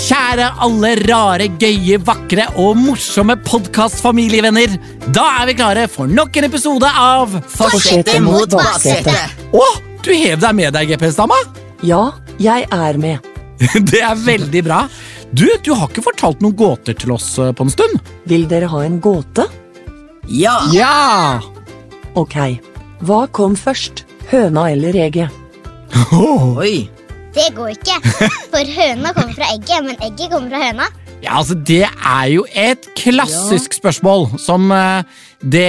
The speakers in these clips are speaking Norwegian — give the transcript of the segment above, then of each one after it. alle rare, gøye, vakre og morsomme podkastfamilievenner. Da er vi klare for nok en episode av Fortsette mot baksetet. Å, du hev deg med deg, GPS-dama! Ja, jeg er med. Det er veldig bra. Du, du har ikke fortalt noen gåter til oss eh, på en stund? Vil dere ha en gåte? Ja. Ja! Ok. Hva kom først? Høna eller egget? Oi. Det går ikke. For høna kommer fra egget, men egget kommer fra høna. Ja, altså Det er jo et klassisk spørsmål som eh, det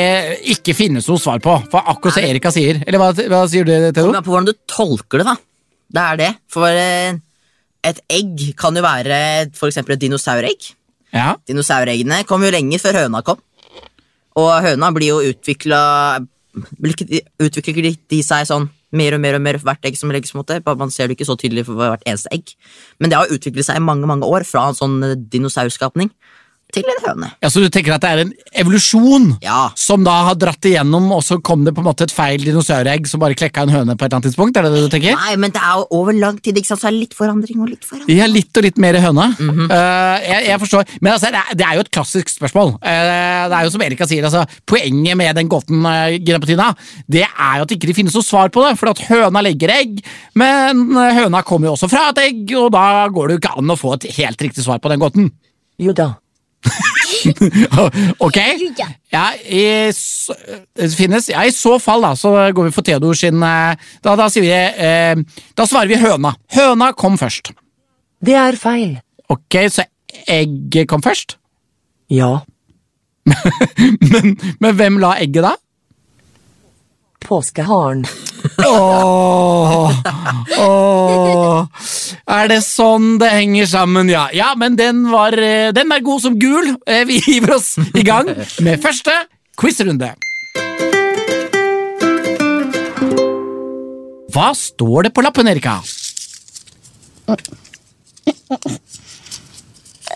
ikke finnes noe svar på. For akkurat som Erika sier. Eller hva, hva sier du, Kom Theodor? an på hvordan du tolker det, da. Det er det. For eh, et egg kan jo være for eksempel et dinosauregg. Ja. Dinosaureggene kom jo lenge før høna kom. Og høna blir jo utvikla Utvikler ikke de, de seg sånn mer og mer og mer for hvert egg som legges mot det? Bare Man ser det ikke så tydelig for hvert eneste egg. Men det har jo utviklet seg i mange mange år, fra en sånn eh, dinosaurskapning til en høne. ja, Så du tenker at det er en evolusjon Ja. som da har dratt igjennom, og så kom det på en måte et feil dinosauregg som bare klekka en høne på et eller annet tidspunkt? Er det det du tenker? Nei, men det er jo over lang tid, ikke sant? så er det litt forandring og litt forandring. Ja, litt og litt mer høne. Eh, jeg, jeg forstår. Men altså, det, er, det er jo et klassisk spørsmål. Eh, det er jo som Erika sier, altså, Poenget med den gåten eh, Ginapatina, det er jo at ikke det finnes noe svar på det. For at høna legger egg, men eh, høna kommer jo også fra et egg, og da går det jo ikke an å få et helt riktig svar på den gåten. Jo da. ok? Ja. Ja, i, s- det finnes. Ja, I så fall da, så går vi for Theodor sin eh, Da, da, sier vi, eh, da svarer vi høna. Høna kom først. Det er feil. Ok, så egget kom først? Ja. Men, men hvem la egget da? Påskeharen. Åh, åh. Er det sånn det henger sammen? Ja, ja men den, var, eh, den er god som gul. Eh, Vi hiver oss i gang med første quizrunde. Hva står det på lappen, Erika?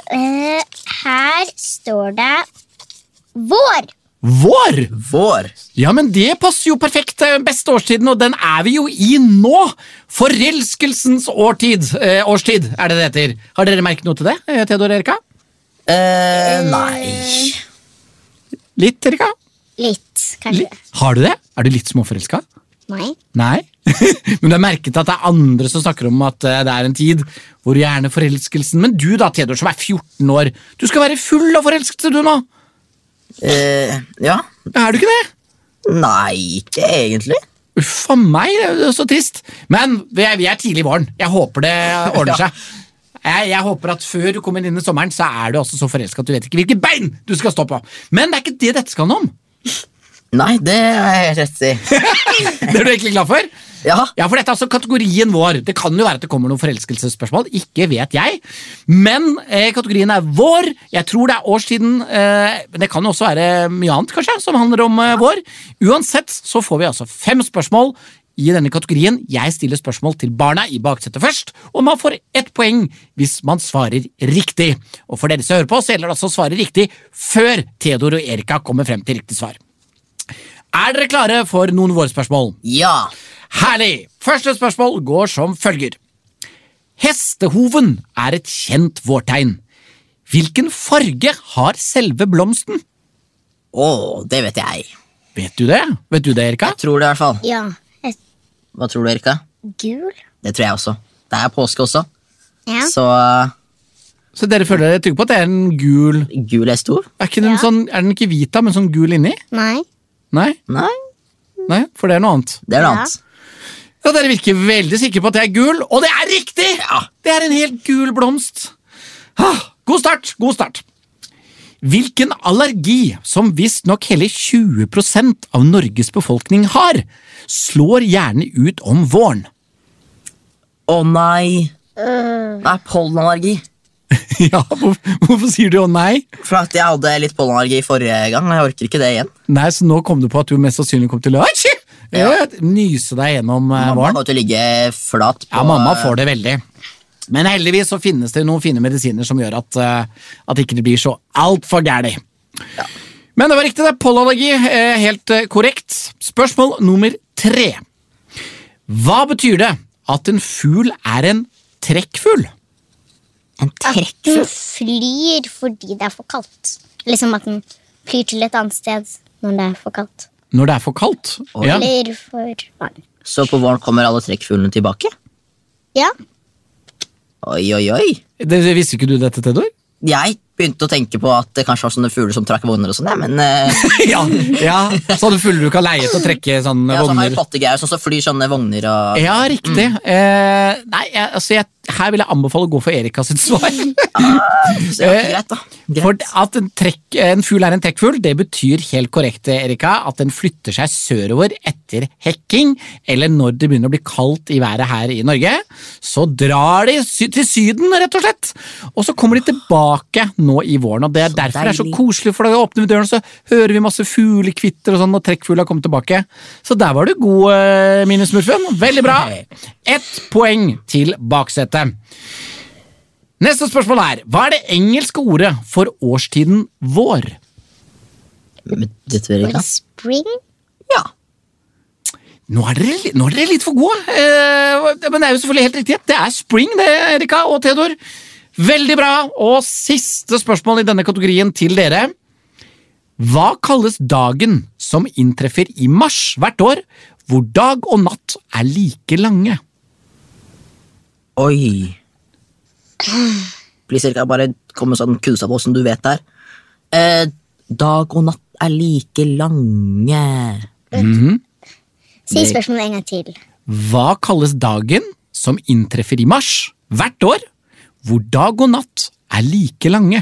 Eh, her står det vår. Vår! Vår. Ja, men det passer jo perfekt til beste årstiden, og den er vi jo i nå! Forelskelsens årtid, eh, årstid er det det heter. Har dere merket noe til det, eh, Theodor og Erika? Eh, nei. Litt, Erika? Litt, kanskje. Litt. Har du det? Er du litt småforelska? Nei. Nei? men du har merket at det er andre som snakker om at eh, det er en tid hvor gjerne forelskelsen Men du da, Theodor, som er 14 år, du skal være full av forelskelse, du nå! Eh, ja. Er du ikke det? Nei, ikke egentlig. Uff a meg, det er jo så trist. Men vi er, vi er tidlig i våren. Jeg håper det ordner Ja. seg. Jeg, jeg håper at Før du kommer inn i sommeren, så er du altså så forelska at du vet ikke hvilke bein du skal stå på. Men det er ikke det dette skal handle om. Nei, det er jeg helt rett i. Det er du egentlig glad for? Ja. Ja, for dette er altså kategorien vår. Det kan jo være at det kommer noen forelskelsesspørsmål. Ikke vet jeg. Men eh, kategorien er vår. Jeg tror det er årstiden. Eh, men det kan jo også være mye annet, kanskje, som handler om eh, vår. Uansett så får vi altså fem spørsmål i denne kategorien. Jeg stiller spørsmål til barna i baksetet først, og man får ett poeng hvis man svarer riktig. Og for dere som hører på, så gjelder det altså å svare riktig før Theodor og Erika kommer frem til riktig svar. Er dere klare for noen vårspørsmål? Ja. Herlig! Første spørsmål går som følger. Hestehoven er et kjent vårtegn. Hvilken farge har selve blomsten? Å, det vet jeg. Vet du det? Vet du det, Erika? Tror det, i hvert fall. Ja. Et Hva tror du, Erika? gul. Det tror jeg også. Det er påske også, Ja. så Så dere føler dere trygge på at det er en gul eh, gul hestehov? Er, ikke den, Ja. sånn, er den ikke hvit, da, men sånn gul inni? Nei. Nei? Nei, Nei, for det er noe annet. det er noe Ja. annet. Ja, Dere virker veldig sikre på at det er gul, og det er riktig! Det er en helt gul blomst. Ah, god start, god start. Hvilken allergi, som visstnok hele 20 av Norges befolkning har, slår gjerne ut om våren? Å nei. Eh. Det er pollenallergi. ja, hvor, Hvorfor sier du å nei? For at jeg hadde litt pollenallergi forrige gang, og jeg orker ikke det igjen. Nei, Så nå kom du på at du mest sannsynlig kom til å Atsj! Ja, nyse deg gjennom eh, Mamma våren? kommer til å ligge flat på Ja, mamma får det veldig. Men heldigvis så finnes det noen fine medisiner som gjør at, eh, at ikke det blir så altfor gærent. Men det var riktig, det. Pollenallergi. eh, Helt eh, korrekt. Spørsmål nummer tre. Hva betyr det at en fugl er en trekkfugl? eh, En trekk? Den flyr fordi det er for kaldt. Liksom at den flyr til et annet sted når det er for kaldt. Når det er for kaldt. Ja. Eller for varmt. Så på våren kommer alle trekkfuglene tilbake? Ja. Oi, oi, oi. Det, det visste ikke du dette, Theodor? Jeg begynte å tenke på at det kanskje var sånne fugler som trakk vogner og sånn, ja, men eh, ja, ja. Sånne fugler du kan leie til å trekke sånne ja, så Harry vogner. Potter-greier sånn som flyr sånne vogner og Ja, riktig. Mm. Eh, nei, jeg, altså, jeg, her vil jeg anbefale å gå for Erika sitt svar. Så ja, Greit, da. Greit. For at en, trekk, en fugl er en trekkfugl, det betyr helt korrekt Erika, at den flytter seg sørover etter hekking, eller når det begynner å bli kaldt i været her i Norge. Så drar de sy til Syden, rett og slett. Og så kommer de tilbake nå i våren. og Det er derfor det er så deilig. koselig, for da åpner vi døren, så hører vi masse fuglekvitter og sånn, og trekkfugla kommer tilbake. Så der var du god, eh, Minus Smurfen. Veldig bra. Ett poeng til baksetet. Neste spørsmål er Hva er det engelske ordet for årstiden vår? Men dette vil jeg For ikke. spring. Ja. Nå er dere, li- nå er dere litt for gode, eh, men det er jo selvfølgelig helt riktig. Det er spring, det, Erika og Theodor. Veldig bra. Og siste spørsmål i denne kategorien til dere. Hva kalles dagen som inntreffer i mars hvert år, hvor dag og natt er like lange? Oi. Please, Erika, bare kom med sånn kunnskap også, som du vet der. Eh, dag og natt er like lange. Si spørsmålet en gang til. Hva kalles dagen som inntreffer i mars hvert år, hvor dag og natt er like lange?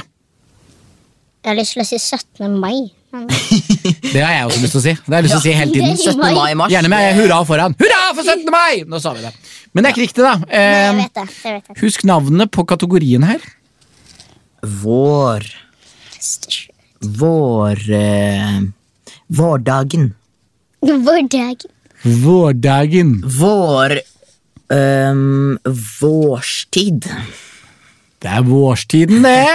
Jeg har lyst til å si 17. mai. Men Det har jeg også lyst til å si. Det har jeg lyst til å si hele Det er tiden. 17. mai, mars. Gjerne med hurra foran. Hurra for 17. mai! Nå sa vi det. Men det er ikke riktig, da. Nei, jeg Eh, vet det. det vet jeg. Husk navnene på kategorien her. Vår. Vår... Eh, vårdagen. Vår dag. Vårdagen. Vår... ehm, vårstid. Det er vårstiden, det.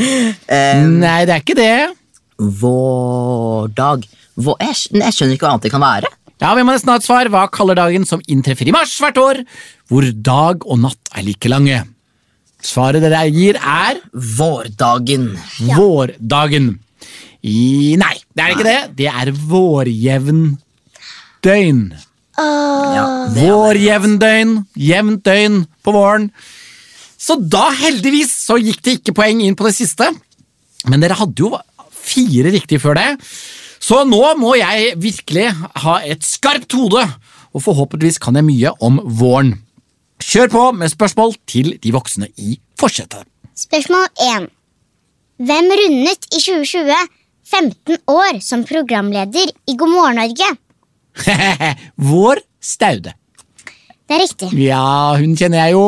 Ehm. Nei, det er ikke det. Vårdag. Vår, jeg, skj- jeg skjønner ikke hva annet det kan være. Ja, Vi må nesten ha et svar. Hva kaller dagen som inntreffer i mars hvert år, hvor dag og natt er like lange? Svaret dere gir, er Vårdagen. vårdagen. I, nei, det er ikke det. Det er vårjevndøgn. Åh, Ja, det er- Vårjevndøgn. Jevnt døgn på våren. Så da, heldigvis, så gikk det ikke poeng inn på det siste. Men dere hadde jo fire riktige før det. Så nå må jeg virkelig ha et skarpt hode, og forhåpentligvis kan jeg mye om våren. Kjør på med spørsmål til de voksne i forsetet. Spørsmål 1. Hvem rundet i 2020 15 år som programleder i God morgen, Norge? Vår Staude. Det er riktig. Ja, hun kjenner jeg jo.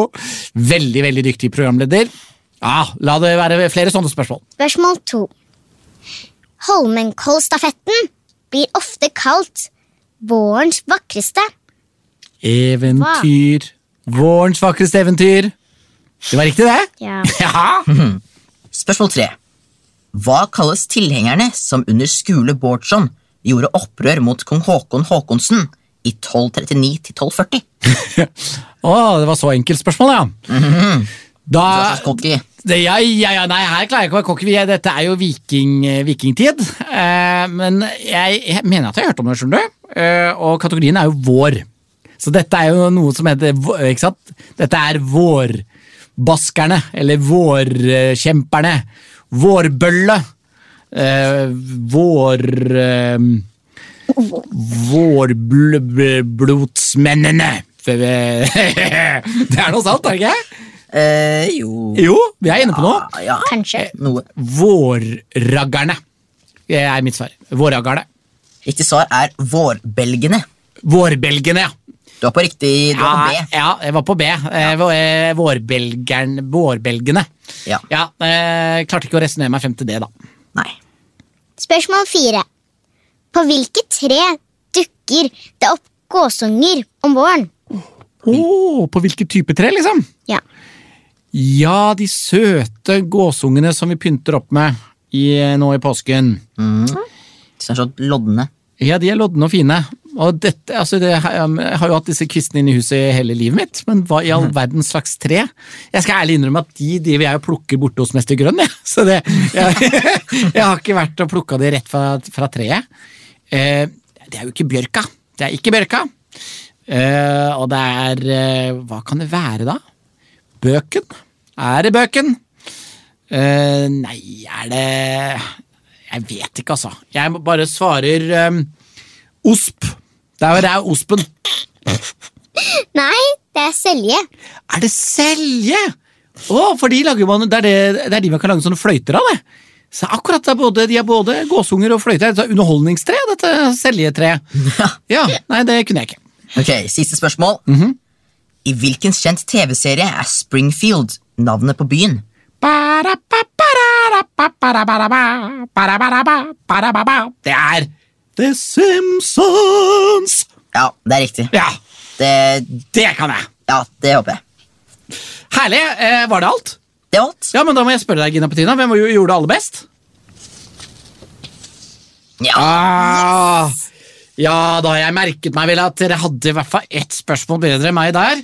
Veldig, veldig dyktig programleder. Ja, La det være flere sånne spørsmål. Spørsmål 2. Holmenkollstafetten blir ofte kalt vårens vakreste. Eventyr. Vårens vakreste eventyr. Det var riktig, det? Ja. Ja. Spørsmål tre. Hva kalles tilhengerne som under Skule Bårdsson gjorde opprør mot kong Håkon Håkonsen i 1239 til 1240? Å, det var så enkelt spørsmål, ja. Da Hva slags cocky? det, ja, ja, ja, Nei, her klarer jeg ikke å være cocky. Vi er- Dette er jo viking, eh, vikingtid. Eh, men jeg, jeg mener at jeg har hørt om det, skjønner du. Eh, og kategorien er jo vår. Så dette er jo noe som heter vå- Ikke sant? Dette er vårbaskerne. Eller vårkjemperne. Vårbølle. Eh, vår... Eh, Vårblodsmennene. Det er noe sant, er det ikke? Eh, jo Jo, vi er inne på noe. Ah, Ja, Kanskje. noe. Vårraggerne Det er mitt svar. Vårraggerne. Riktig svar er vårbelgene. Vårbelgene, ja. Du er på riktig du er på Ja, B. ja, jeg var på B. Eh, vå- eh, Vårbelgerne Vårbelgene. Ja. Ja, eh, klarte ikke å resonnere meg frem til det, da. Nei. Spørsmål 4. På hvilket tre dukker det opp gåsunger om våren? Hm. Åh, på hvilket type tre, liksom? Ja. Ja, de søte gåsungene som vi pynter opp med i, eh, nå i påsken. Så er det sånn lodne. Ja, de er lodne og fine. Og dette, altså det, jeg har jo hatt disse kvistene inne i huset hele livet mitt, men hva i all verdens slags tre? Jeg skal ærlig innrømme at de driver jeg og plukker borte hos Mester Grønn, jeg. Så det, jeg, jeg har ikke vært og plukka det rett fra, fra treet. Eh, det er jo ikke bjørka. Det er ikke bjørka. Eh, og det er eh, Hva kan det være, da? Bøken? Er det bøken? Eh, nei, er det Jeg vet ikke, altså. Jeg bare svarer eh, Osp. Det er, det er ospen. Nei, det er selje. Er det selje? Å, for de lager man, det, er det, det er de man kan lage sånne fløyter av, det. Så akkurat det er både, De er både gåsunger og fløyter. Det er underholdningstre, dette seljetreet. Ja, nei, det kunne jeg ikke. Ok, Siste spørsmål. Mhm. I hvilken kjent TV-serie er Springfield navnet på byen? Det er The Simpsons! Ja, det er riktig. Ja, Det, det kan jeg. ja, det håper jeg. Herlig. Eh, var det alt? Det holdt. Ja, men Da må jeg spørre deg, Gina Petina. Hvem gjorde det aller best? Ja, Ah, ja, da har jeg merket meg vel at dere hadde i hvert fall ett spørsmål bedre enn meg der.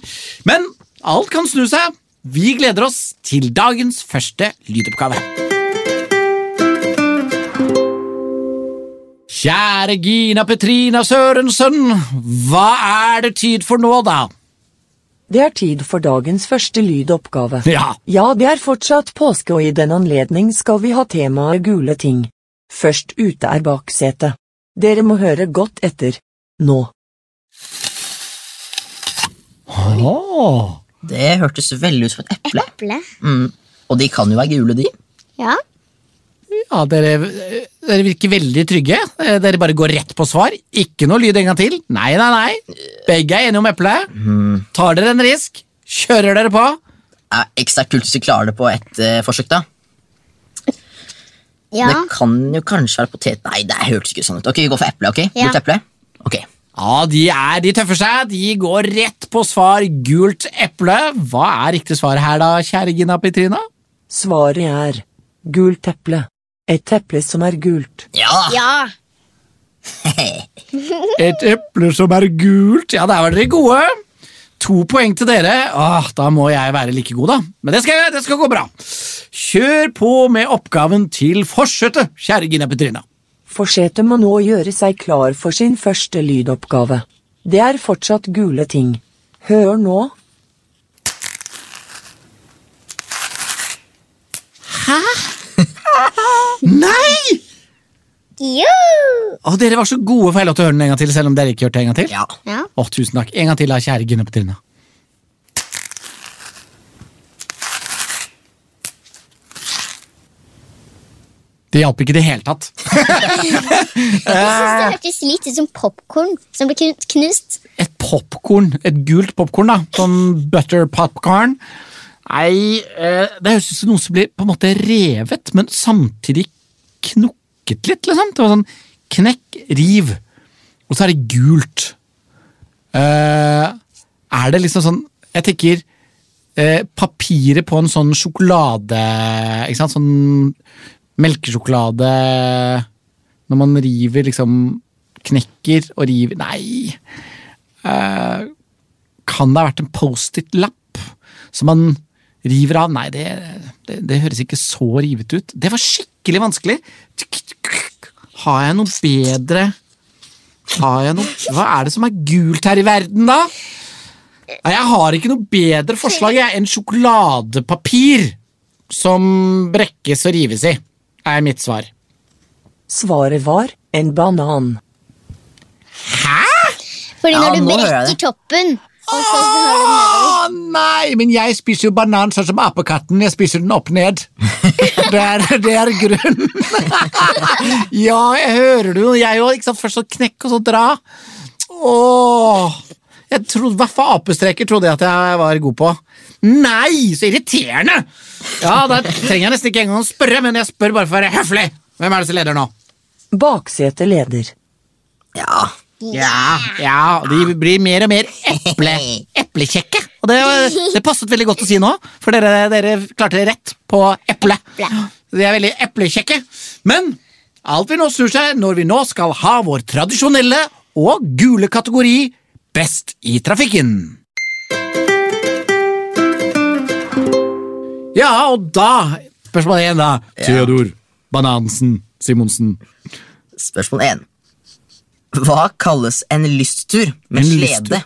Men alt kan snu seg. Vi gleder oss til dagens første lydoppgave. Kjære Gina Petrina Sørensen, hva er det tid for nå, da? Det er tid for dagens første lydoppgave. Ja, Ja, det er fortsatt påske, og i den anledning skal vi ha temaet gule ting. Først ute er baksetet. Dere må høre godt etter. Nå. Åh, Det hørtes veldig ut som et eple. Eple. Mm. Og de kan jo være gule, de. Ja. ja dere, dere virker veldig trygge. Eh, Dere bare går rett på svar. Ikke noe lyd en gang til. Nei, nei, nei. Begge er enige om eplet. Tar dere en risk, kjører dere på. Ja, ikke så kult hvis vi klarer det på ett eh, forsøk, da. Ja. Det kan jo kanskje være potet... Nei, det hørtes ikke sånn ut. Ok, vi går for eple, ok? Ja. Gult eple? Ok. Ja, De er de tøffer seg. De går rett på svar gult eple. Hva er riktig svar her, da, kjære Gina Petrina? Svaret er gult eple. Et eple som er gult. Ja! ja. Et eple som er gult. Ja, der var dere gode. To poeng til dere. Åh, da må jeg være like god, da. Men det skal, det skal gå bra. Kjør på med oppgaven til forsetet, kjære Gina Petrina. Forsetet må nå gjøre seg klar for sin første lydoppgave. Det er fortsatt gule ting. Hør nå. Hæ? Nei! Jo. Å, dere var så gode, får jeg lov til å høre den en gang til? selv om dere ikke hørte en gang til? ja. Ja. Å, tusen takk. En gang til, da, kjære Gunne Petrina. Det hjalp ikke i det hele tatt. Jeg synes det hørtes litt ut som popkorn som ble kun- knust. Et popkorn, et gult popkorn, da. Sånn butter popcorn. Nei, eh, det høres ut som noe som blir på en måte revet, men samtidig knukket litt, liksom. Det var sånn knekk, riv, og så er det gult. Eh, er det liksom sånn Jeg tenker eh, papiret på en sånn sjokolade Ikke sant? Sånn melkesjokolade Når man river, liksom Knekker og river Nei! Eh, kan det ha vært en Post-It-lapp som man river av? Nei, det, det, det høres ikke så rivet ut. Det var skikkelig vanskelig! Har jeg noe bedre Har jeg noe Hva er det som er gult her i verden, da? Nei, Jeg har ikke noe bedre forslag jeg, enn sjokoladepapir som brekkes og rives i, er mitt svar. Svaret var en banan. Fordi Ja, når du nå hører jeg brekker det. toppen og så Å nei, men jeg spiser jo banan sånn som apekatten. Jeg spiser den opp ned. Det er, det er grunnen. Ja, jeg hører det jo, jeg òg. ikke sant? Først så knekk, og så dra. Åh. Jeg trodde, Hva for apestreker trodde jeg at jeg var god på? Nei, så irriterende! Ja, Da trenger jeg nesten ikke engang å spørre, men jeg spør bare for å være høflig. Hvem er det som leder nå? Baksetet leder. ja. Ja, ja, de blir mer og mer eple, eplekjekke. Og det, det passet veldig godt å si nå, for dere, dere klarte det rett på eple. De er veldig eplekjekke. Men alt vil nå snu seg når vi nå skal ha vår tradisjonelle og gule kategori Best i trafikken. Ja, og da Spørsmål én, da. Theodor Banansen Simonsen. Spørsmål 1. Hva kalles en lysttur med En slede? lysttur.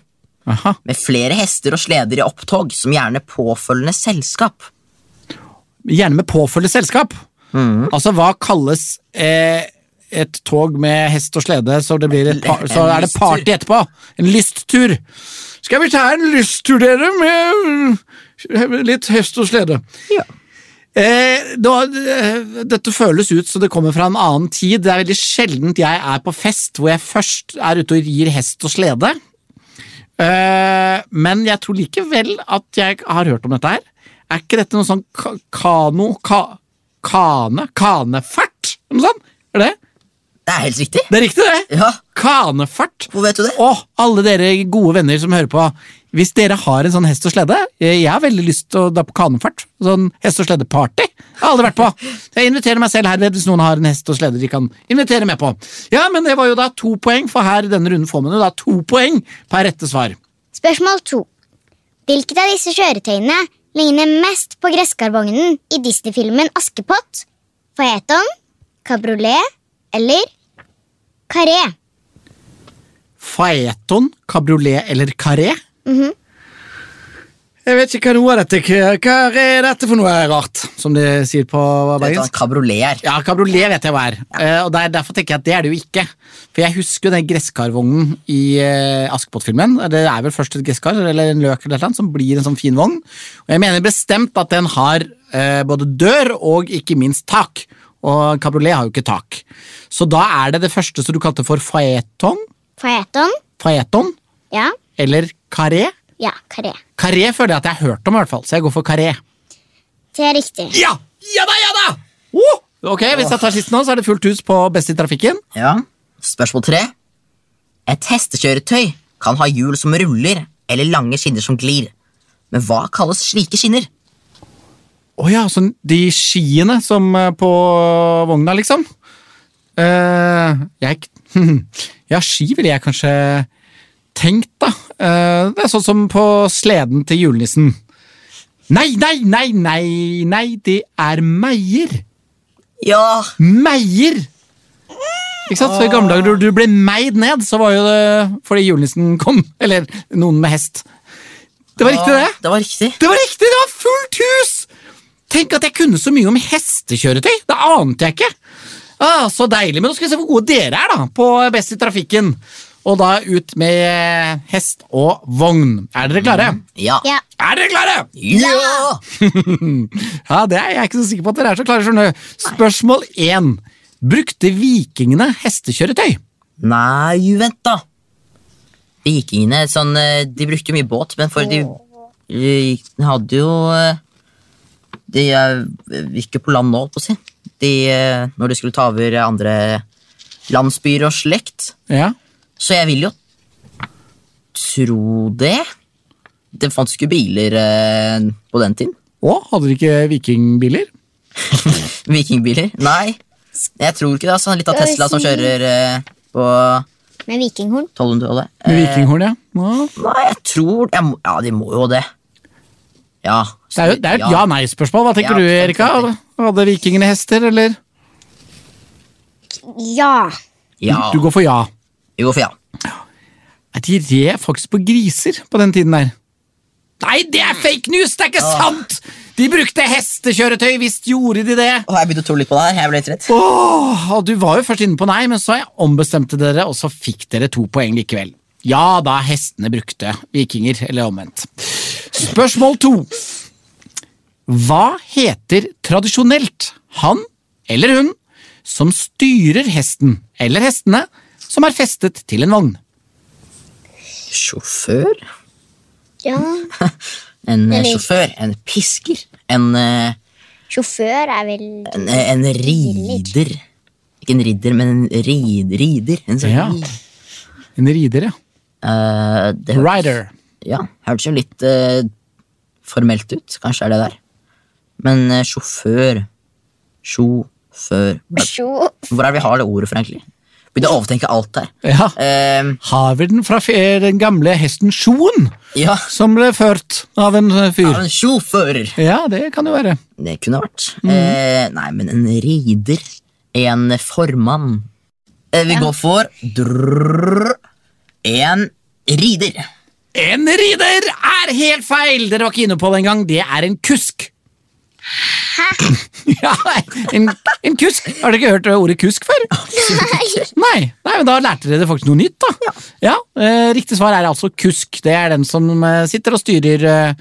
Aha. Med flere hester og sleder i opptog, som gjerne påfølgende selskap. Gjerne med påfølgende selskap. Mhm. Altså, hva kalles eh, et tog med hest og slede, så, det blir et par, En så er det lysttur. party etterpå? En lysttur. Skal vi ta en lysttur, dere, med eh, litt hest og slede? Ja. Eh, da, eh, dette føles ut så det kommer fra en annen tid. Det er veldig sjeldent jeg er på fest hvor jeg først er ute og rir hest og slede. Eh, men jeg tror likevel at jeg har hørt om dette her. Er ikke dette noe sånn ka kano... Ka kane? Kanefart? Noe sånt? Er det? Det er helt riktig. Det er riktig, det! Ja, Kanefart. Hvor vet du det? Og alle dere gode venner som hører på. Hvis dere har en sånn hest og slede eh, Jeg har veldig lyst til å dra på kanefart. Sånn hest og slede-party. Jeg har aldri vært på. Jeg inviterer meg selv herved hvis noen har en hest og slede de kan invitere med på. Ja, men det var jo da to poeng, for her i denne runden får man jo da to poeng per rette svar. Spørsmål to. Hvilket av disse kjøretøyene ligner mest på gresskarvognen i Disney-filmen Askepott? Faeton, kabriolet eller karé? Faeton, kabriolet eller karé? Jeg vet ikke hva noe av dette Hva er dette for noe rart, som de sier på vet du hva en bergensk? kabriolet er. Ja, kabriolet vet jeg hva er. Eh, og der, Derfor tenker jeg at det er det jo ikke. For jeg husker jo den gresskarvognen i eh, Askepott-filmen. Det er vel først et gresskar eller en løk eller noe som blir en sånn fin vogn. Og jeg mener bestemt at den har eh, både dør og ikke minst tak. Og kabriolet har jo ikke tak. Så da er det det første som du kalte for faeton, Faeton? faeton Ja. eller karé. Ja, karé. Karé føler jeg at jeg har hørt om, i hvert fall, så jeg går for karé. Det er riktig. Ja! Ja da, ja da! Oh! Ok, Hvis jeg tar sist nå, så er det fullt hus på Best i trafikken. Ja. Spørsmål tre. Et hestekjøretøy kan ha hjul som ruller, eller lange skinner som glir. Men hva kalles slike skinner? Å ja, sånn de skiene som eh, på vogna, liksom? Eh, jeg Ja, ski ville jeg kanskje tenkt, da. Eh, det er sånn som på sleden til julenissen. Nei, nei, nei, nei, nei, det er meier. Ja, Meier! Ikke sant? Så I gamle dager da du ble meid ned, så var jo det fordi julenissen kom. Eller noen med hest. Det var riktig, det. det var riktig. Det var riktig! Det var fullt hus! Tenk at jeg kunne så mye om hestekjøretøy! Det ante jeg ikke. Ah, så deilig. Men nå skal vi se hvor gode dere er da, på Best i trafikken. Og da ut med hest og vogn. Er dere klare? Ja. Ja. Er dere klare? Ja! Ja, det er jeg ikke så sikker på at dere er så klare. skjønner du. Spørsmål én. Brukte vikingene hestekjøretøy? Nei, vent da. Vikingene sånn, eh, de brukte jo mye båt, men for de, de hadde jo eh, De eh, gikk jo på land nå, holdt på å si. De, eh, når de skulle ta over andre landsbyer og slekt. Ja. Så jeg vil jo tro det. Det fantes ikke biler eh, på den tiden. Og hadde de ikke vikingbiler? Vikingbiler. Nei, jeg tror ikke det. Altså, litt av Skal vi Tesla som si- kjører eh, på Med vikinghorn. 1200-tallet. Med Eh, vikinghorn, ja. ja. Nei, jeg tror jeg må, Ja, de må jo det. Ja. Det er jo det er jo et ja-nei-spørsmål. Hva tenker Ja, du, Erika? sant, Hadde vikingene hester, eller? Ja. ja. Du går for ja. Vi går for ja. Nei, De red faktisk på griser på den tiden der. Nei, det er fake news! Det er ikke Ah. sant! De brukte hestekjøretøy, visst gjorde de det! Å, jeg begynte å tro litt på det her. Jeg ble litt redd. Åh, og du var jo først inne på nei, men så ombestemte dere, og så fikk dere to poeng likevel. Ja da, hestene brukte vikinger, eller omvendt. Spørsmål to. Hva heter tradisjonelt han eller hun som styrer hesten eller hestene som er festet til en vogn? Sjåfør? ja. En eh, Eller- sjåfør. En pisker. En, eh, Sjåfør er vel en, eh, en rider. Ikke en ridder, men en rid, rider. En sånn Ja. En rider, ja. Eh, det høres, Rider. ja, hørtes jo litt eh, formelt ut. Kanskje er det der. Men eh, sjåfør Sjåfør sjå... Hvor er det vi har det ordet for, egentlig? Begynner å overtenke alt her. Ja. Eh, Har vi den fra fe- den gamle hesten Sjoen, ja, som ble ført av en eh, jeg er fyr? en sjåfør! Ja, det kan jo være. Det kunne vært. Mhm. Eh, nei, men en rider. En formann. Eh, vi går for drrrr, en rider. En rider er helt feil! Dere var ikke inne på det engang. Det er en kusk. Hæ? Ja, en, en kusk. Har dere ikke hørt ordet kusk før? Nei. Nei, men Da lærte dere faktisk noe nytt, da. Ja. eh, riktig svar er altså kusk. Det er den som eh, sitter og styrer, eh,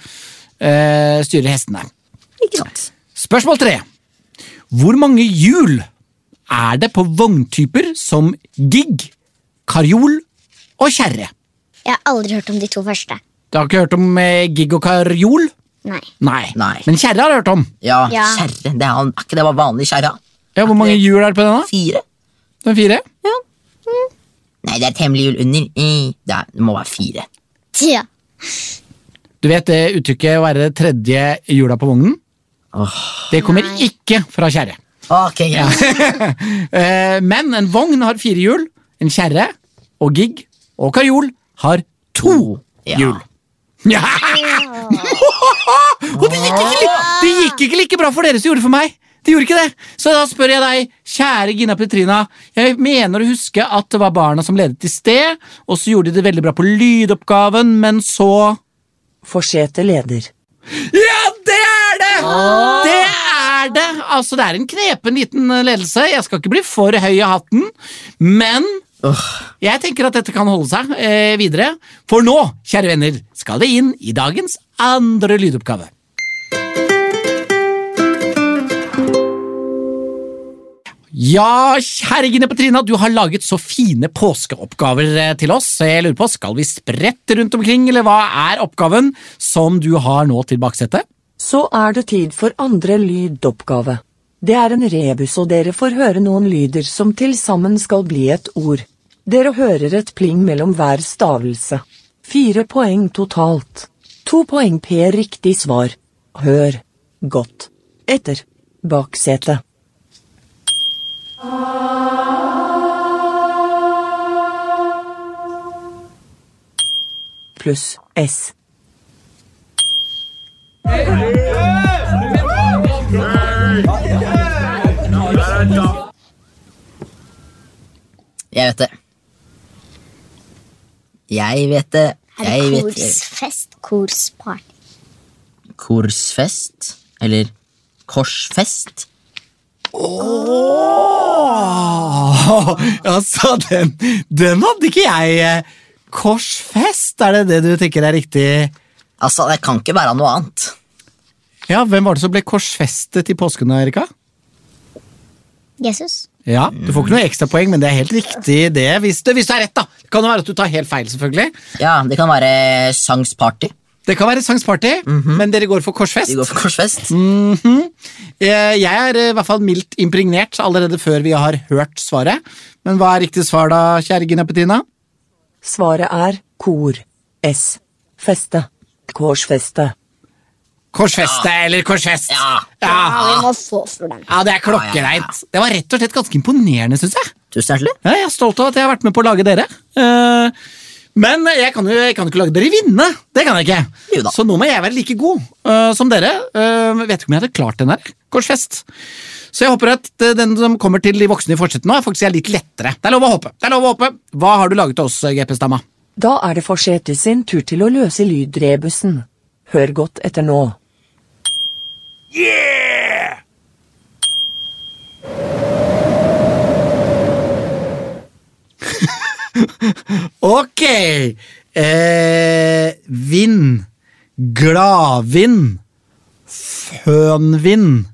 eh, styrer hestene. Ikke sant? Spørsmål tre. Hvor mange hjul er det på vogntyper som gig, karjol og kjerre? Jeg har aldri hørt om de to første. Du har ikke hørt om eh, gig og karjol? Nei. Nei. Nei. Men kjerre har du hørt om. Ja, Ja. kjerre. Det er, han- er ikke det bare vanlig kjerre? Ja, Hvor mange hjul er det på den? da? Fire? Den fire? Nei, det er et hemmelig hjul under. Eh, Det, er, det må være fire. Ja. Du vet det uttrykket å være det tredje hjula på vognen? Åh. Det kommer ikke fra kjerre. Ok, greit. Eh, Men en vogn har fire hjul. En kjerre og gig og karjol har to Ja. hjul. Ja. og det gikk, ikke, li- det gikk ikke like bra for dere som gjorde det for meg. Det gjorde ikke det. Så da spør jeg deg, kjære Gina Petrina. Jeg mener å huske at det var barna som ledet i sted, og så gjorde de det veldig bra på lydoppgaven, men så Forsete leder. ja, det er det! Det er det! Altså, det er en knepen liten eh, ledelse. Jeg skal ikke bli for høy i hatten, men Åh, jeg tenker at dette kan holde seg eh, videre. For nå, kjære venner, skal det inn i dagens andre lydoppgave. Ja, kjære Gine Petrina, du har laget så fine påskeoppgaver eh, til oss. så Jeg lurer på, Skal vi sprette rundt omkring, eller hva er oppgaven som du har nå til baksetet? Så er det tid for andre lydoppgave. Det er en rebus, og dere får høre noen lyder som til sammen skal bli et ord. Dere hører et pling mellom hver stavelse. Fire poeng totalt. To poeng per riktig svar. Hør. Godt. Etter. Baksete. Pluss S. jeg vet det. Jeg vet det. Er det Jeg vet det. korsfest? Korsparty? Korsfest? Eller korsfest? Åh, altså, den, den hadde ikke jeg. eh, Korsfest, er det det du tenker er riktig? Altså, det kan ikke være noe annet. Ja, Hvem var det som ble korsfestet i påsken, Erika? Jesus? Ja, Du får ikke noe ekstrapoeng, men det er helt riktig det hvis det, hvis det er rett. da. Det kan jo være at du tar helt feil, selvfølgelig. Ja, det kan være sangsparty. Det kan være Sangs Party, men dere går for korsfest. Mhm. Vi går for korsfest. Eh, Jeg er eh, i hvert fall mildt impregnert allerede før vi har hørt svaret. Men hva er riktig svar, da, kjære Gina Petina? Svaret er kor. S. Feste. Korsfeste. Korsfeste eller korsfest. Ja. ja. Ja, vi må få for den. Ja, det er klokkereint. Det var rett og slett ganske imponerende, syns jeg. Tusen hjertelig. Ja, jeg er stolt av at jeg har vært med på å lage dere. Eh, Men jeg kan jo jeg kan jo ikke lage dere vinne. Det kan jeg Jo ikke. da. Så nå må jeg være like god eh, som dere. Eh, vet ikke om jeg hadde klart den her. Korsfest. Så jeg håper at eh, den som kommer til de voksne i fortsettet nå, er faktisk er litt lettere. Det er lov å håpe. Det er lov å håpe. Hva har du laget til oss, GP-stamma? Da er det Forsete sin tur til å løse lydrebusen. Hør godt etter nå. Ok. Eh, vind. Gladvind. Fønvind.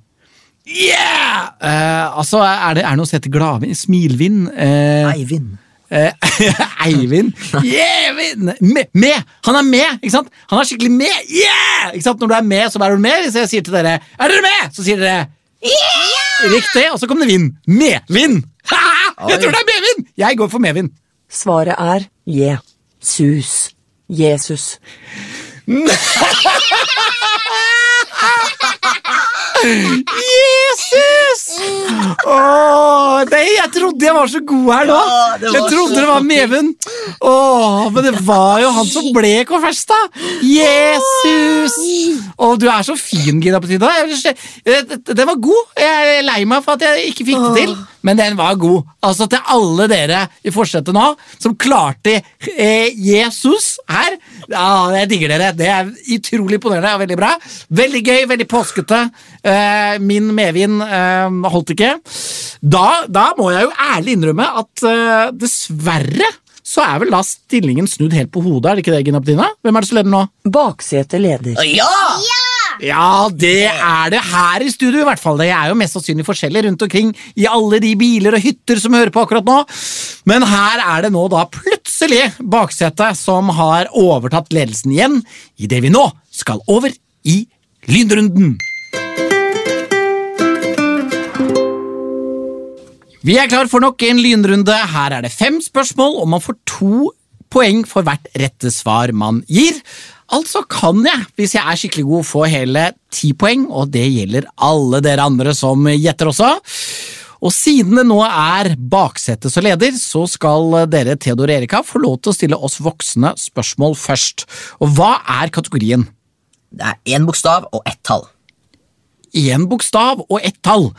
Yeah! Eh, altså, er det, er det noe som heter gladvind? Smilvind? Eh, Eivind. eh, Eivind? Yeah! Vind! Med, med! Han er med! ikke sant? Han er skikkelig med! Yeah! Ikke sant? Når du er med, så er du med. Hvis jeg sier til dere 'Er dere med?', så sier dere Yeah! Riktig, og så kom det vind. Medvind! Ha! Jeg Oi. tror det er medvind! Jeg går for medvind. Svaret er je. Sus. Jesus. Jesus! Åh, nei, jeg trodde jeg var så god her nå! Ja, det var jeg trodde så det var Meven. Åh, men det var jo han som ble konfesta! Jesus! Åh, du er så fin, Gina Petita. Jeg- jeg- Den var god. Jeg er lei meg for at jeg ikke fikk det til, men den var god. Altså til alle dere i forsetet nå som klarte eh, Jesus her. Ja, jeg digger dere. Det er utrolig imponerende og veldig bra. Veldig gøy, veldig påskete. Eh, min medvin eh, holdt ikke. Da, da må jeg jo ærlig innrømme at eh, dessverre så er vel da stillingen snudd helt på hodet, er det ikke det, Gina Petina? Hvem er det som leder nå? Baksete leder. Ja! Ja, det er det her i studio, i hvert fall. Det er jo mest sannsynlig forskjellig rundt omkring i alle de biler og hytter som hører på akkurat nå. Men her er det nå da plutselig baksetet som har overtatt ledelsen igjen, i det vi nå skal over i lynrunden. Vi er klar for nok en lynrunde. Her er det fem spørsmål, og man får to poeng for hvert rette svar man gir. Altså kan jeg, hvis jeg er skikkelig god, få hele ti poeng, og det gjelder alle dere andre som gjetter også. Og siden det nå er baksetet som leder, så skal dere, Theodor og Erika, få lov til å stille oss voksne spørsmål først. Og hva er kategorien? Det er én bokstav og ett tall. én bokstav og ett tall.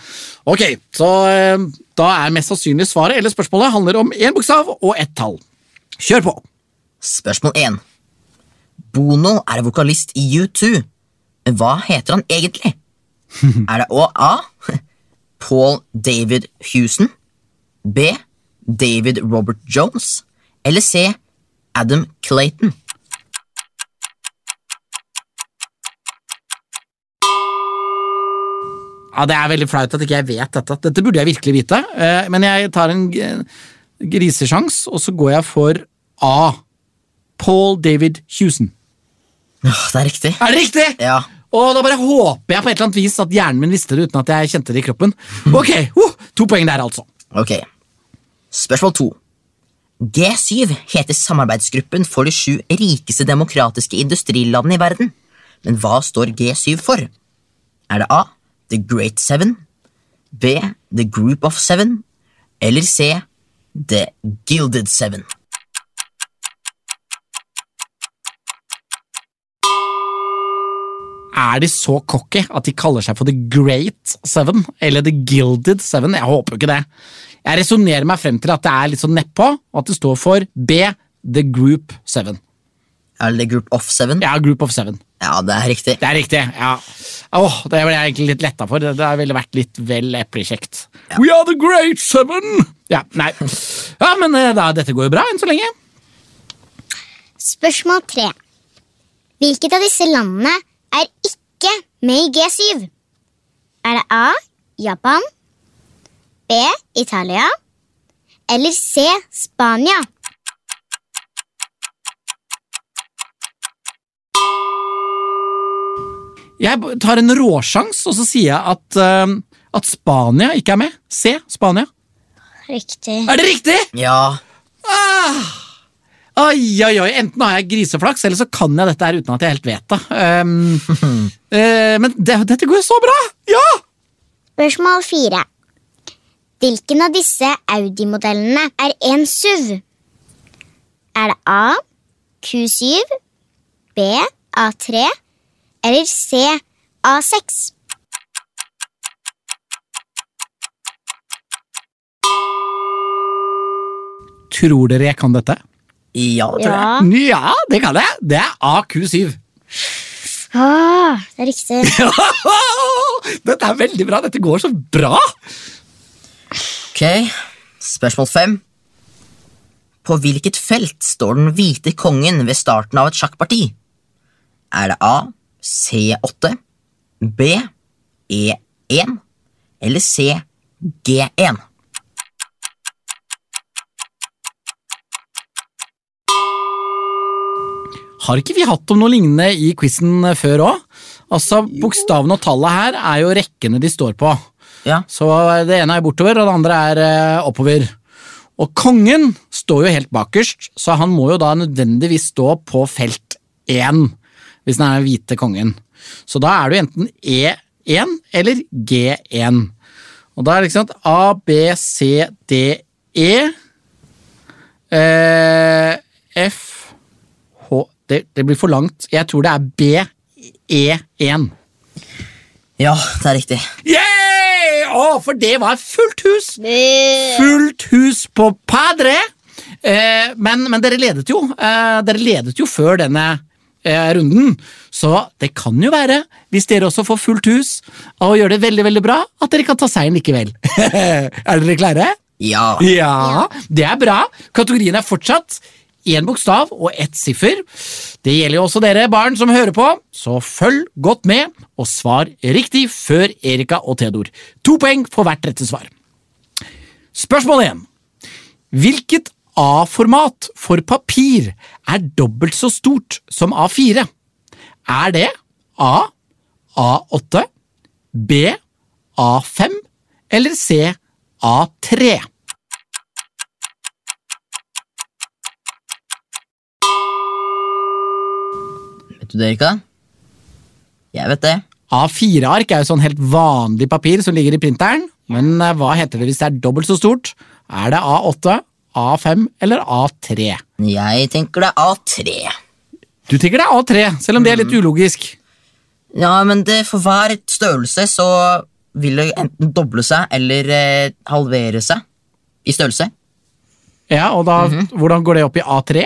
Ok, så eh, da er mest sannsynlig svaret eller spørsmålet handler om én bokstav og ett tall. Kjør på! Spørsmål 1. Bono er vokalist i U2, men hva heter han egentlig? Er det også A. Paul David Houston. B. David Robert Jones. Eller C. Adam Clayton. Ja, Det er veldig flaut at ikke jeg vet dette. Dette burde jeg virkelig vite, eh, men jeg tar en g- grisesjans, og så går jeg for A. Paul David Houston. Åh, Det er riktig. Er det riktig? Ja. Og da bare håper jeg på et eller annet vis at hjernen min visste det uten at jeg kjente det i kroppen. Ok, uh, To poeng der, altså. Ok. Spørsmål 2. G7 heter samarbeidsgruppen for de sju rikeste demokratiske industrilandene i verden. Men hva står G7 for? Er det A. The Great Seven? B. The Group of Seven? Eller C. The Gilded Seven? er de så cocky at de kaller seg for The Great Seven, eller The Gilded Seven? Jeg håper jo ikke det. Jeg resonnerer meg frem til at det er litt sånn nedpå, og at det står for B, The Group Seven. Er det The Group of Seven? Ja, Group of Seven. Ja, det er riktig. Det er riktig, ja. Åh, det ble jeg egentlig litt letta for. Det det ville vært litt vel eplekjekt. We are the great seven! Ja, nei. Ja, men eh, da, dette går jo bra enn så lenge. Spørsmål 3. Hvilket av disse landene er ikke med i G7? Er det A. Japan B. Italia eller C. Spania? Jeg tar en råsjans, og så sier jeg at, eh, at Spania ikke er med. Se, Spania. Riktig. Er det riktig? Ja, Ah! Oi, oi, oi. Enten har jeg griseflaks, eller så kan jeg dette her uten at jeg helt vet det. Ehm, eh, men det, dette går jo så bra! Ja! Spørsmål 4. Hvilken av disse Audi-modellene er en SUV? Er det A. Q7, B. A3 eller C. A6? Tror dere jeg kan dette? ja, tror jeg. Ja. Ja, det kan jeg. Det er AQ7. Ah, det er riktig. dette er veldig bra. Dette går så bra! Ok, spørsmål 5. På hvilket felt står den hvite kongen ved starten av et sjakkparti? Er det A. C8, B. E1 eller C. G1? Har ikke vi hatt om noe lignende i quizen før òg? Altså, bokstavene og tallet her er jo rekkene de står på. Ja. Så det ene er bortover, og det andre er eh, oppover. Og kongen står jo helt bakerst, så han må jo da nødvendigvis stå på felt 1, hvis han er den E hvite kongen. Så da er det jo enten E1 eller G1. Og da er det ikke sant A, B, C, D, E. Eh, F, H det, det blir for langt. Jeg tror det er B, E E1. Ja, det er riktig. Yeah! Å, for det var fullt hus! Fullt hus på Padre! Eh, men, men dere ledet jo. Eh, dere ledet jo før denne eh, runden. Så det kan jo være, hvis dere også får fullt hus og gjør det veldig veldig bra, at dere kan ta seieren likevel. er dere klare? Ja. Ja, det er bra. Kategorien er fortsatt én bokstav og ett siffer. Det gjelder jo også dere barn som hører på, så følg godt med og svar riktig før Erika og Theodor. To poeng for hvert rette svar. Spørsmål 1. Hvilket A-format for papir er dobbelt så stort som A4? Er det A. A8, B. A5 eller C. A3? Vet du det, Erika? Jeg vet det. A4-ark er jo sånn helt vanlig papir som ligger i printeren, men eh, hva heter det hvis det er dobbelt så stort? Er det A8, A5 eller A3? Jeg tenker det er A3. Du tenker det er A3, selv om det er Mm. litt ulogisk. Ja, men det for hver størrelse så vil det enten doble seg eller eh, halvere seg i størrelse. Ja, og da, Mhm. Hvordan går det opp i A3?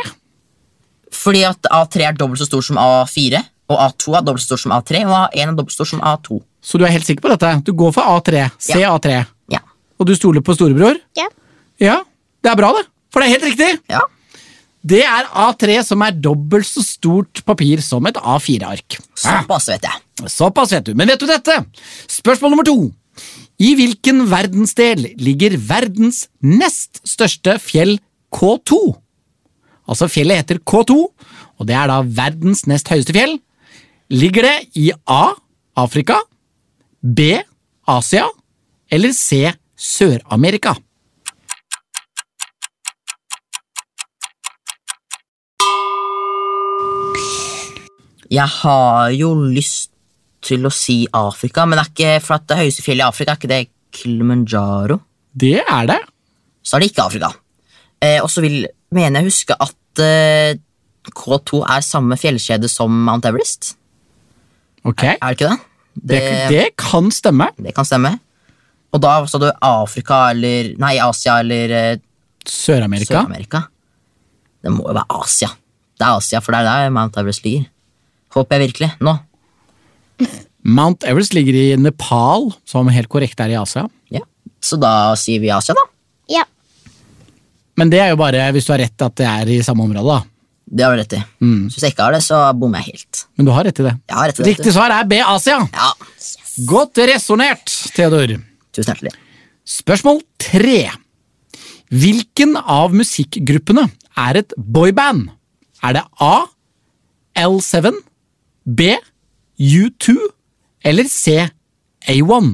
Fordi at A3 er dobbelt så stor som A4, og A2 er dobbelt så stor som A3, og A1 er dobbelt så stor som A2. Så du er helt sikker på dette? Du går for A3. Se A3. Ja. Og du stoler på storebror? Ja. Ja, det er bra, det. For det er helt riktig! Ja. Det er A3 som er dobbelt så stort papir som et A4-ark. Såpass vet jeg. Såpass vet du. Men vet du dette? Spørsmål nummer to. I hvilken verdensdel ligger verdens nest største fjell K2? Altså fjellet heter K2, og det er da verdens nest høyeste fjell. Ligger det i A. Afrika, B. Asia eller C. Sør-Amerika? Jeg har jo lyst til å si Afrika, men er ikke, for at det høyeste fjellet i Afrika, er ikke det Kilimanjaro? Det er det. Så er det ikke Afrika. Eh, og så vil, mener jeg huske at eh, K2 er samme fjellkjede som Mount Everest. Ok, Er det ikke det? det, det kan stemme. det kan stemme. Og da sa du Afrika eller Nei, Asia eller eh, Sør-Amerika. Sør-Amerika. Det må jo være Asia. Det er Asia, for det er der Mount Everest ligger. Håper jeg virkelig. Nå. Mount Everest ligger i Nepal, som helt korrekt er i Asia. Ja. Så da sier vi Asia, da. Ja. Men det er jo bare hvis du har rett at det er i samme område, da. Det har du rett i. Mm. Så hvis jeg ikke har det, så bommer jeg helt. Men du har rett i det. Jeg har rett i det. Riktig svar er B. Asia. Ja, Godt resonnert, Theodor. tusen hjertelig. Spørsmål tre. Hvilken av musikkgruppene er et boyband? Er det A. L7, B. U2 eller C. A1?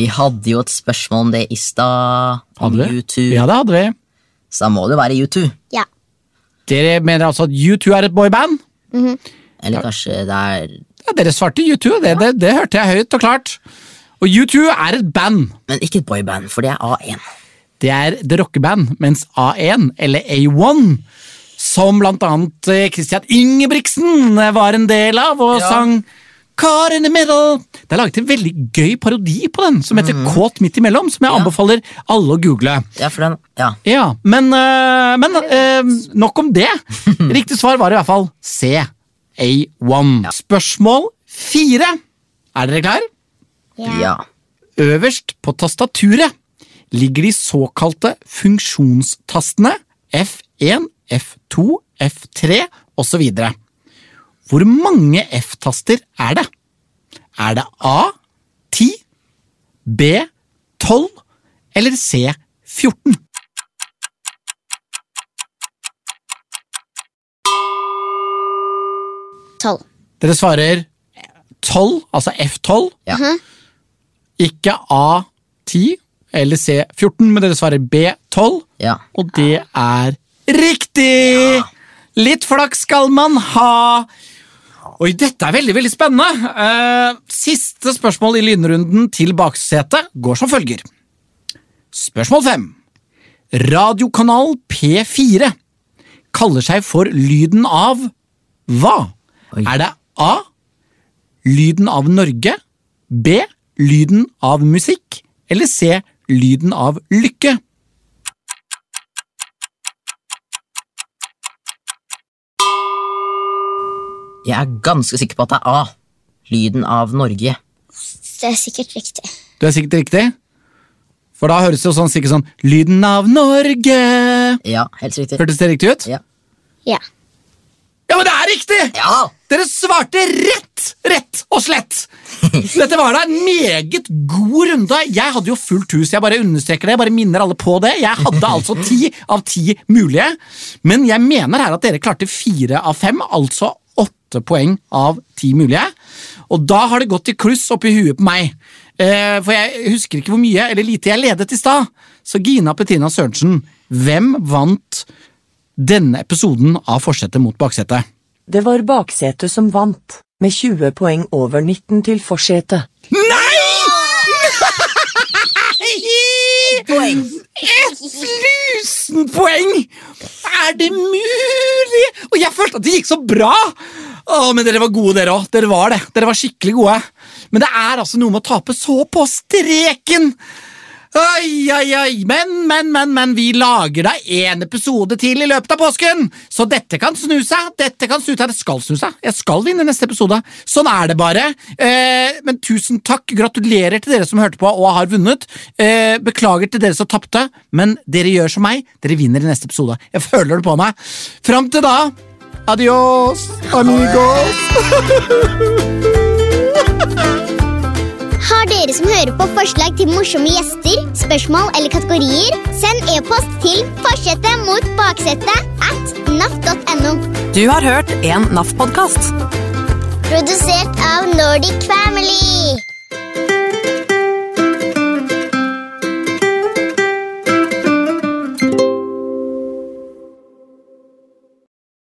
Vi hadde jo et spørsmål om det i stad. Om Hadde vi? U2. Ja, det hadde vi. Så da må det jo være U2. Ja. Dere mener altså at U2 er et boyband? Eller kanskje det er Ja, dere svarte U2, det, det, det hørte jeg høyt og klart. Og U2 er et band. Men ikke et boyband, for det er A1. Det er The Rockeband, mens A1, eller A1, som blant annet eh, Christian Ingebrigtsen eh, var en del av og Ja. sang Car in the middle. Det er laget en veldig gøy parodi på den, som heter Kåt midt imellom, som jeg anbefaler alle å google. Ja, for den, ja. Ja, Men, eh, men eh, nok om det. Riktig svar var i hvert fall C. A1. Spørsmål fire. Er dere klare? ja. Øverst på tastaturet ligger de såkalte funksjonstastene F1, F2, F3 osv. Hvor mange F-taster er det? Er det A 10, B 12 eller C 14? Tolv. Dere svarer 12, altså F12. Ja. Ikke A10 eller C14, men dere svarer B12. Ja. Og det er riktig! Litt flaks skal man ha. Oi, dette er veldig veldig spennende. Eh, siste spørsmål i lynrunden til baksetet går som følger. Spørsmål fem. Radiokanal P4 kaller seg for Lyden av hva? Oi. Er det A. Lyden av Norge. B. Lyden av musikk. Eller C. Lyden av lykke. Jeg er ganske sikker på at det er A. Lyden av Norge. Det er sikkert riktig. Du er sikkert riktig? For da høres det jo sånn sikkert sånn Lyden av Norge. Ja, helt riktig. Hørtes det riktig ut? Ja. Ja. Ja, men det er riktig! Ja! Dere svarte rett, rett og slett! Dette var da en meget god runde. Jeg hadde jo fullt hus. Jeg bare understreker det, jeg bare minner alle på det. Jeg hadde altså ti av ti mulige, men jeg mener her at dere klarte fire av fem, altså åtte poeng av ti mulige. Og da har det gått i kluss oppi huet på meg. Eh, For jeg husker ikke hvor mye eller lite jeg ledet i stad. Så Gina Petina Sørensen, hvem vant denne episoden av Forsetet mot baksetet? Det var baksetet som vant, med 20 poeng over 19 til forsetet. Poeng! Et tusen poeng! Er det mulig? Og jeg følte at det gikk så bra! Å, men dere var gode, dere òg. Dere var det. Dere var skikkelig gode. Men det er altså noe med å tape så på streken! Ai, ai, ai. Men, men, men, men, vi lager da én episode til i løpet av påsken! Så dette kan snu seg. Dette kan snu seg. Det skal snu seg. Jeg skal vinne neste episode. Sånn er det bare. Eh, men tusen takk. Gratulerer til dere som hørte på og har vunnet. Eh, beklager til dere som tapte, men dere gjør som meg. Dere vinner i neste episode. Jeg føler det på meg. Fram til da, adios, amigos. Har dere som hører på forslag til morsomme gjester, spørsmål eller kategorier, send e-post til forsetet mot baksetet at naf.no. Du har hørt en NAF-podkast. Produsert av Nordic Quack.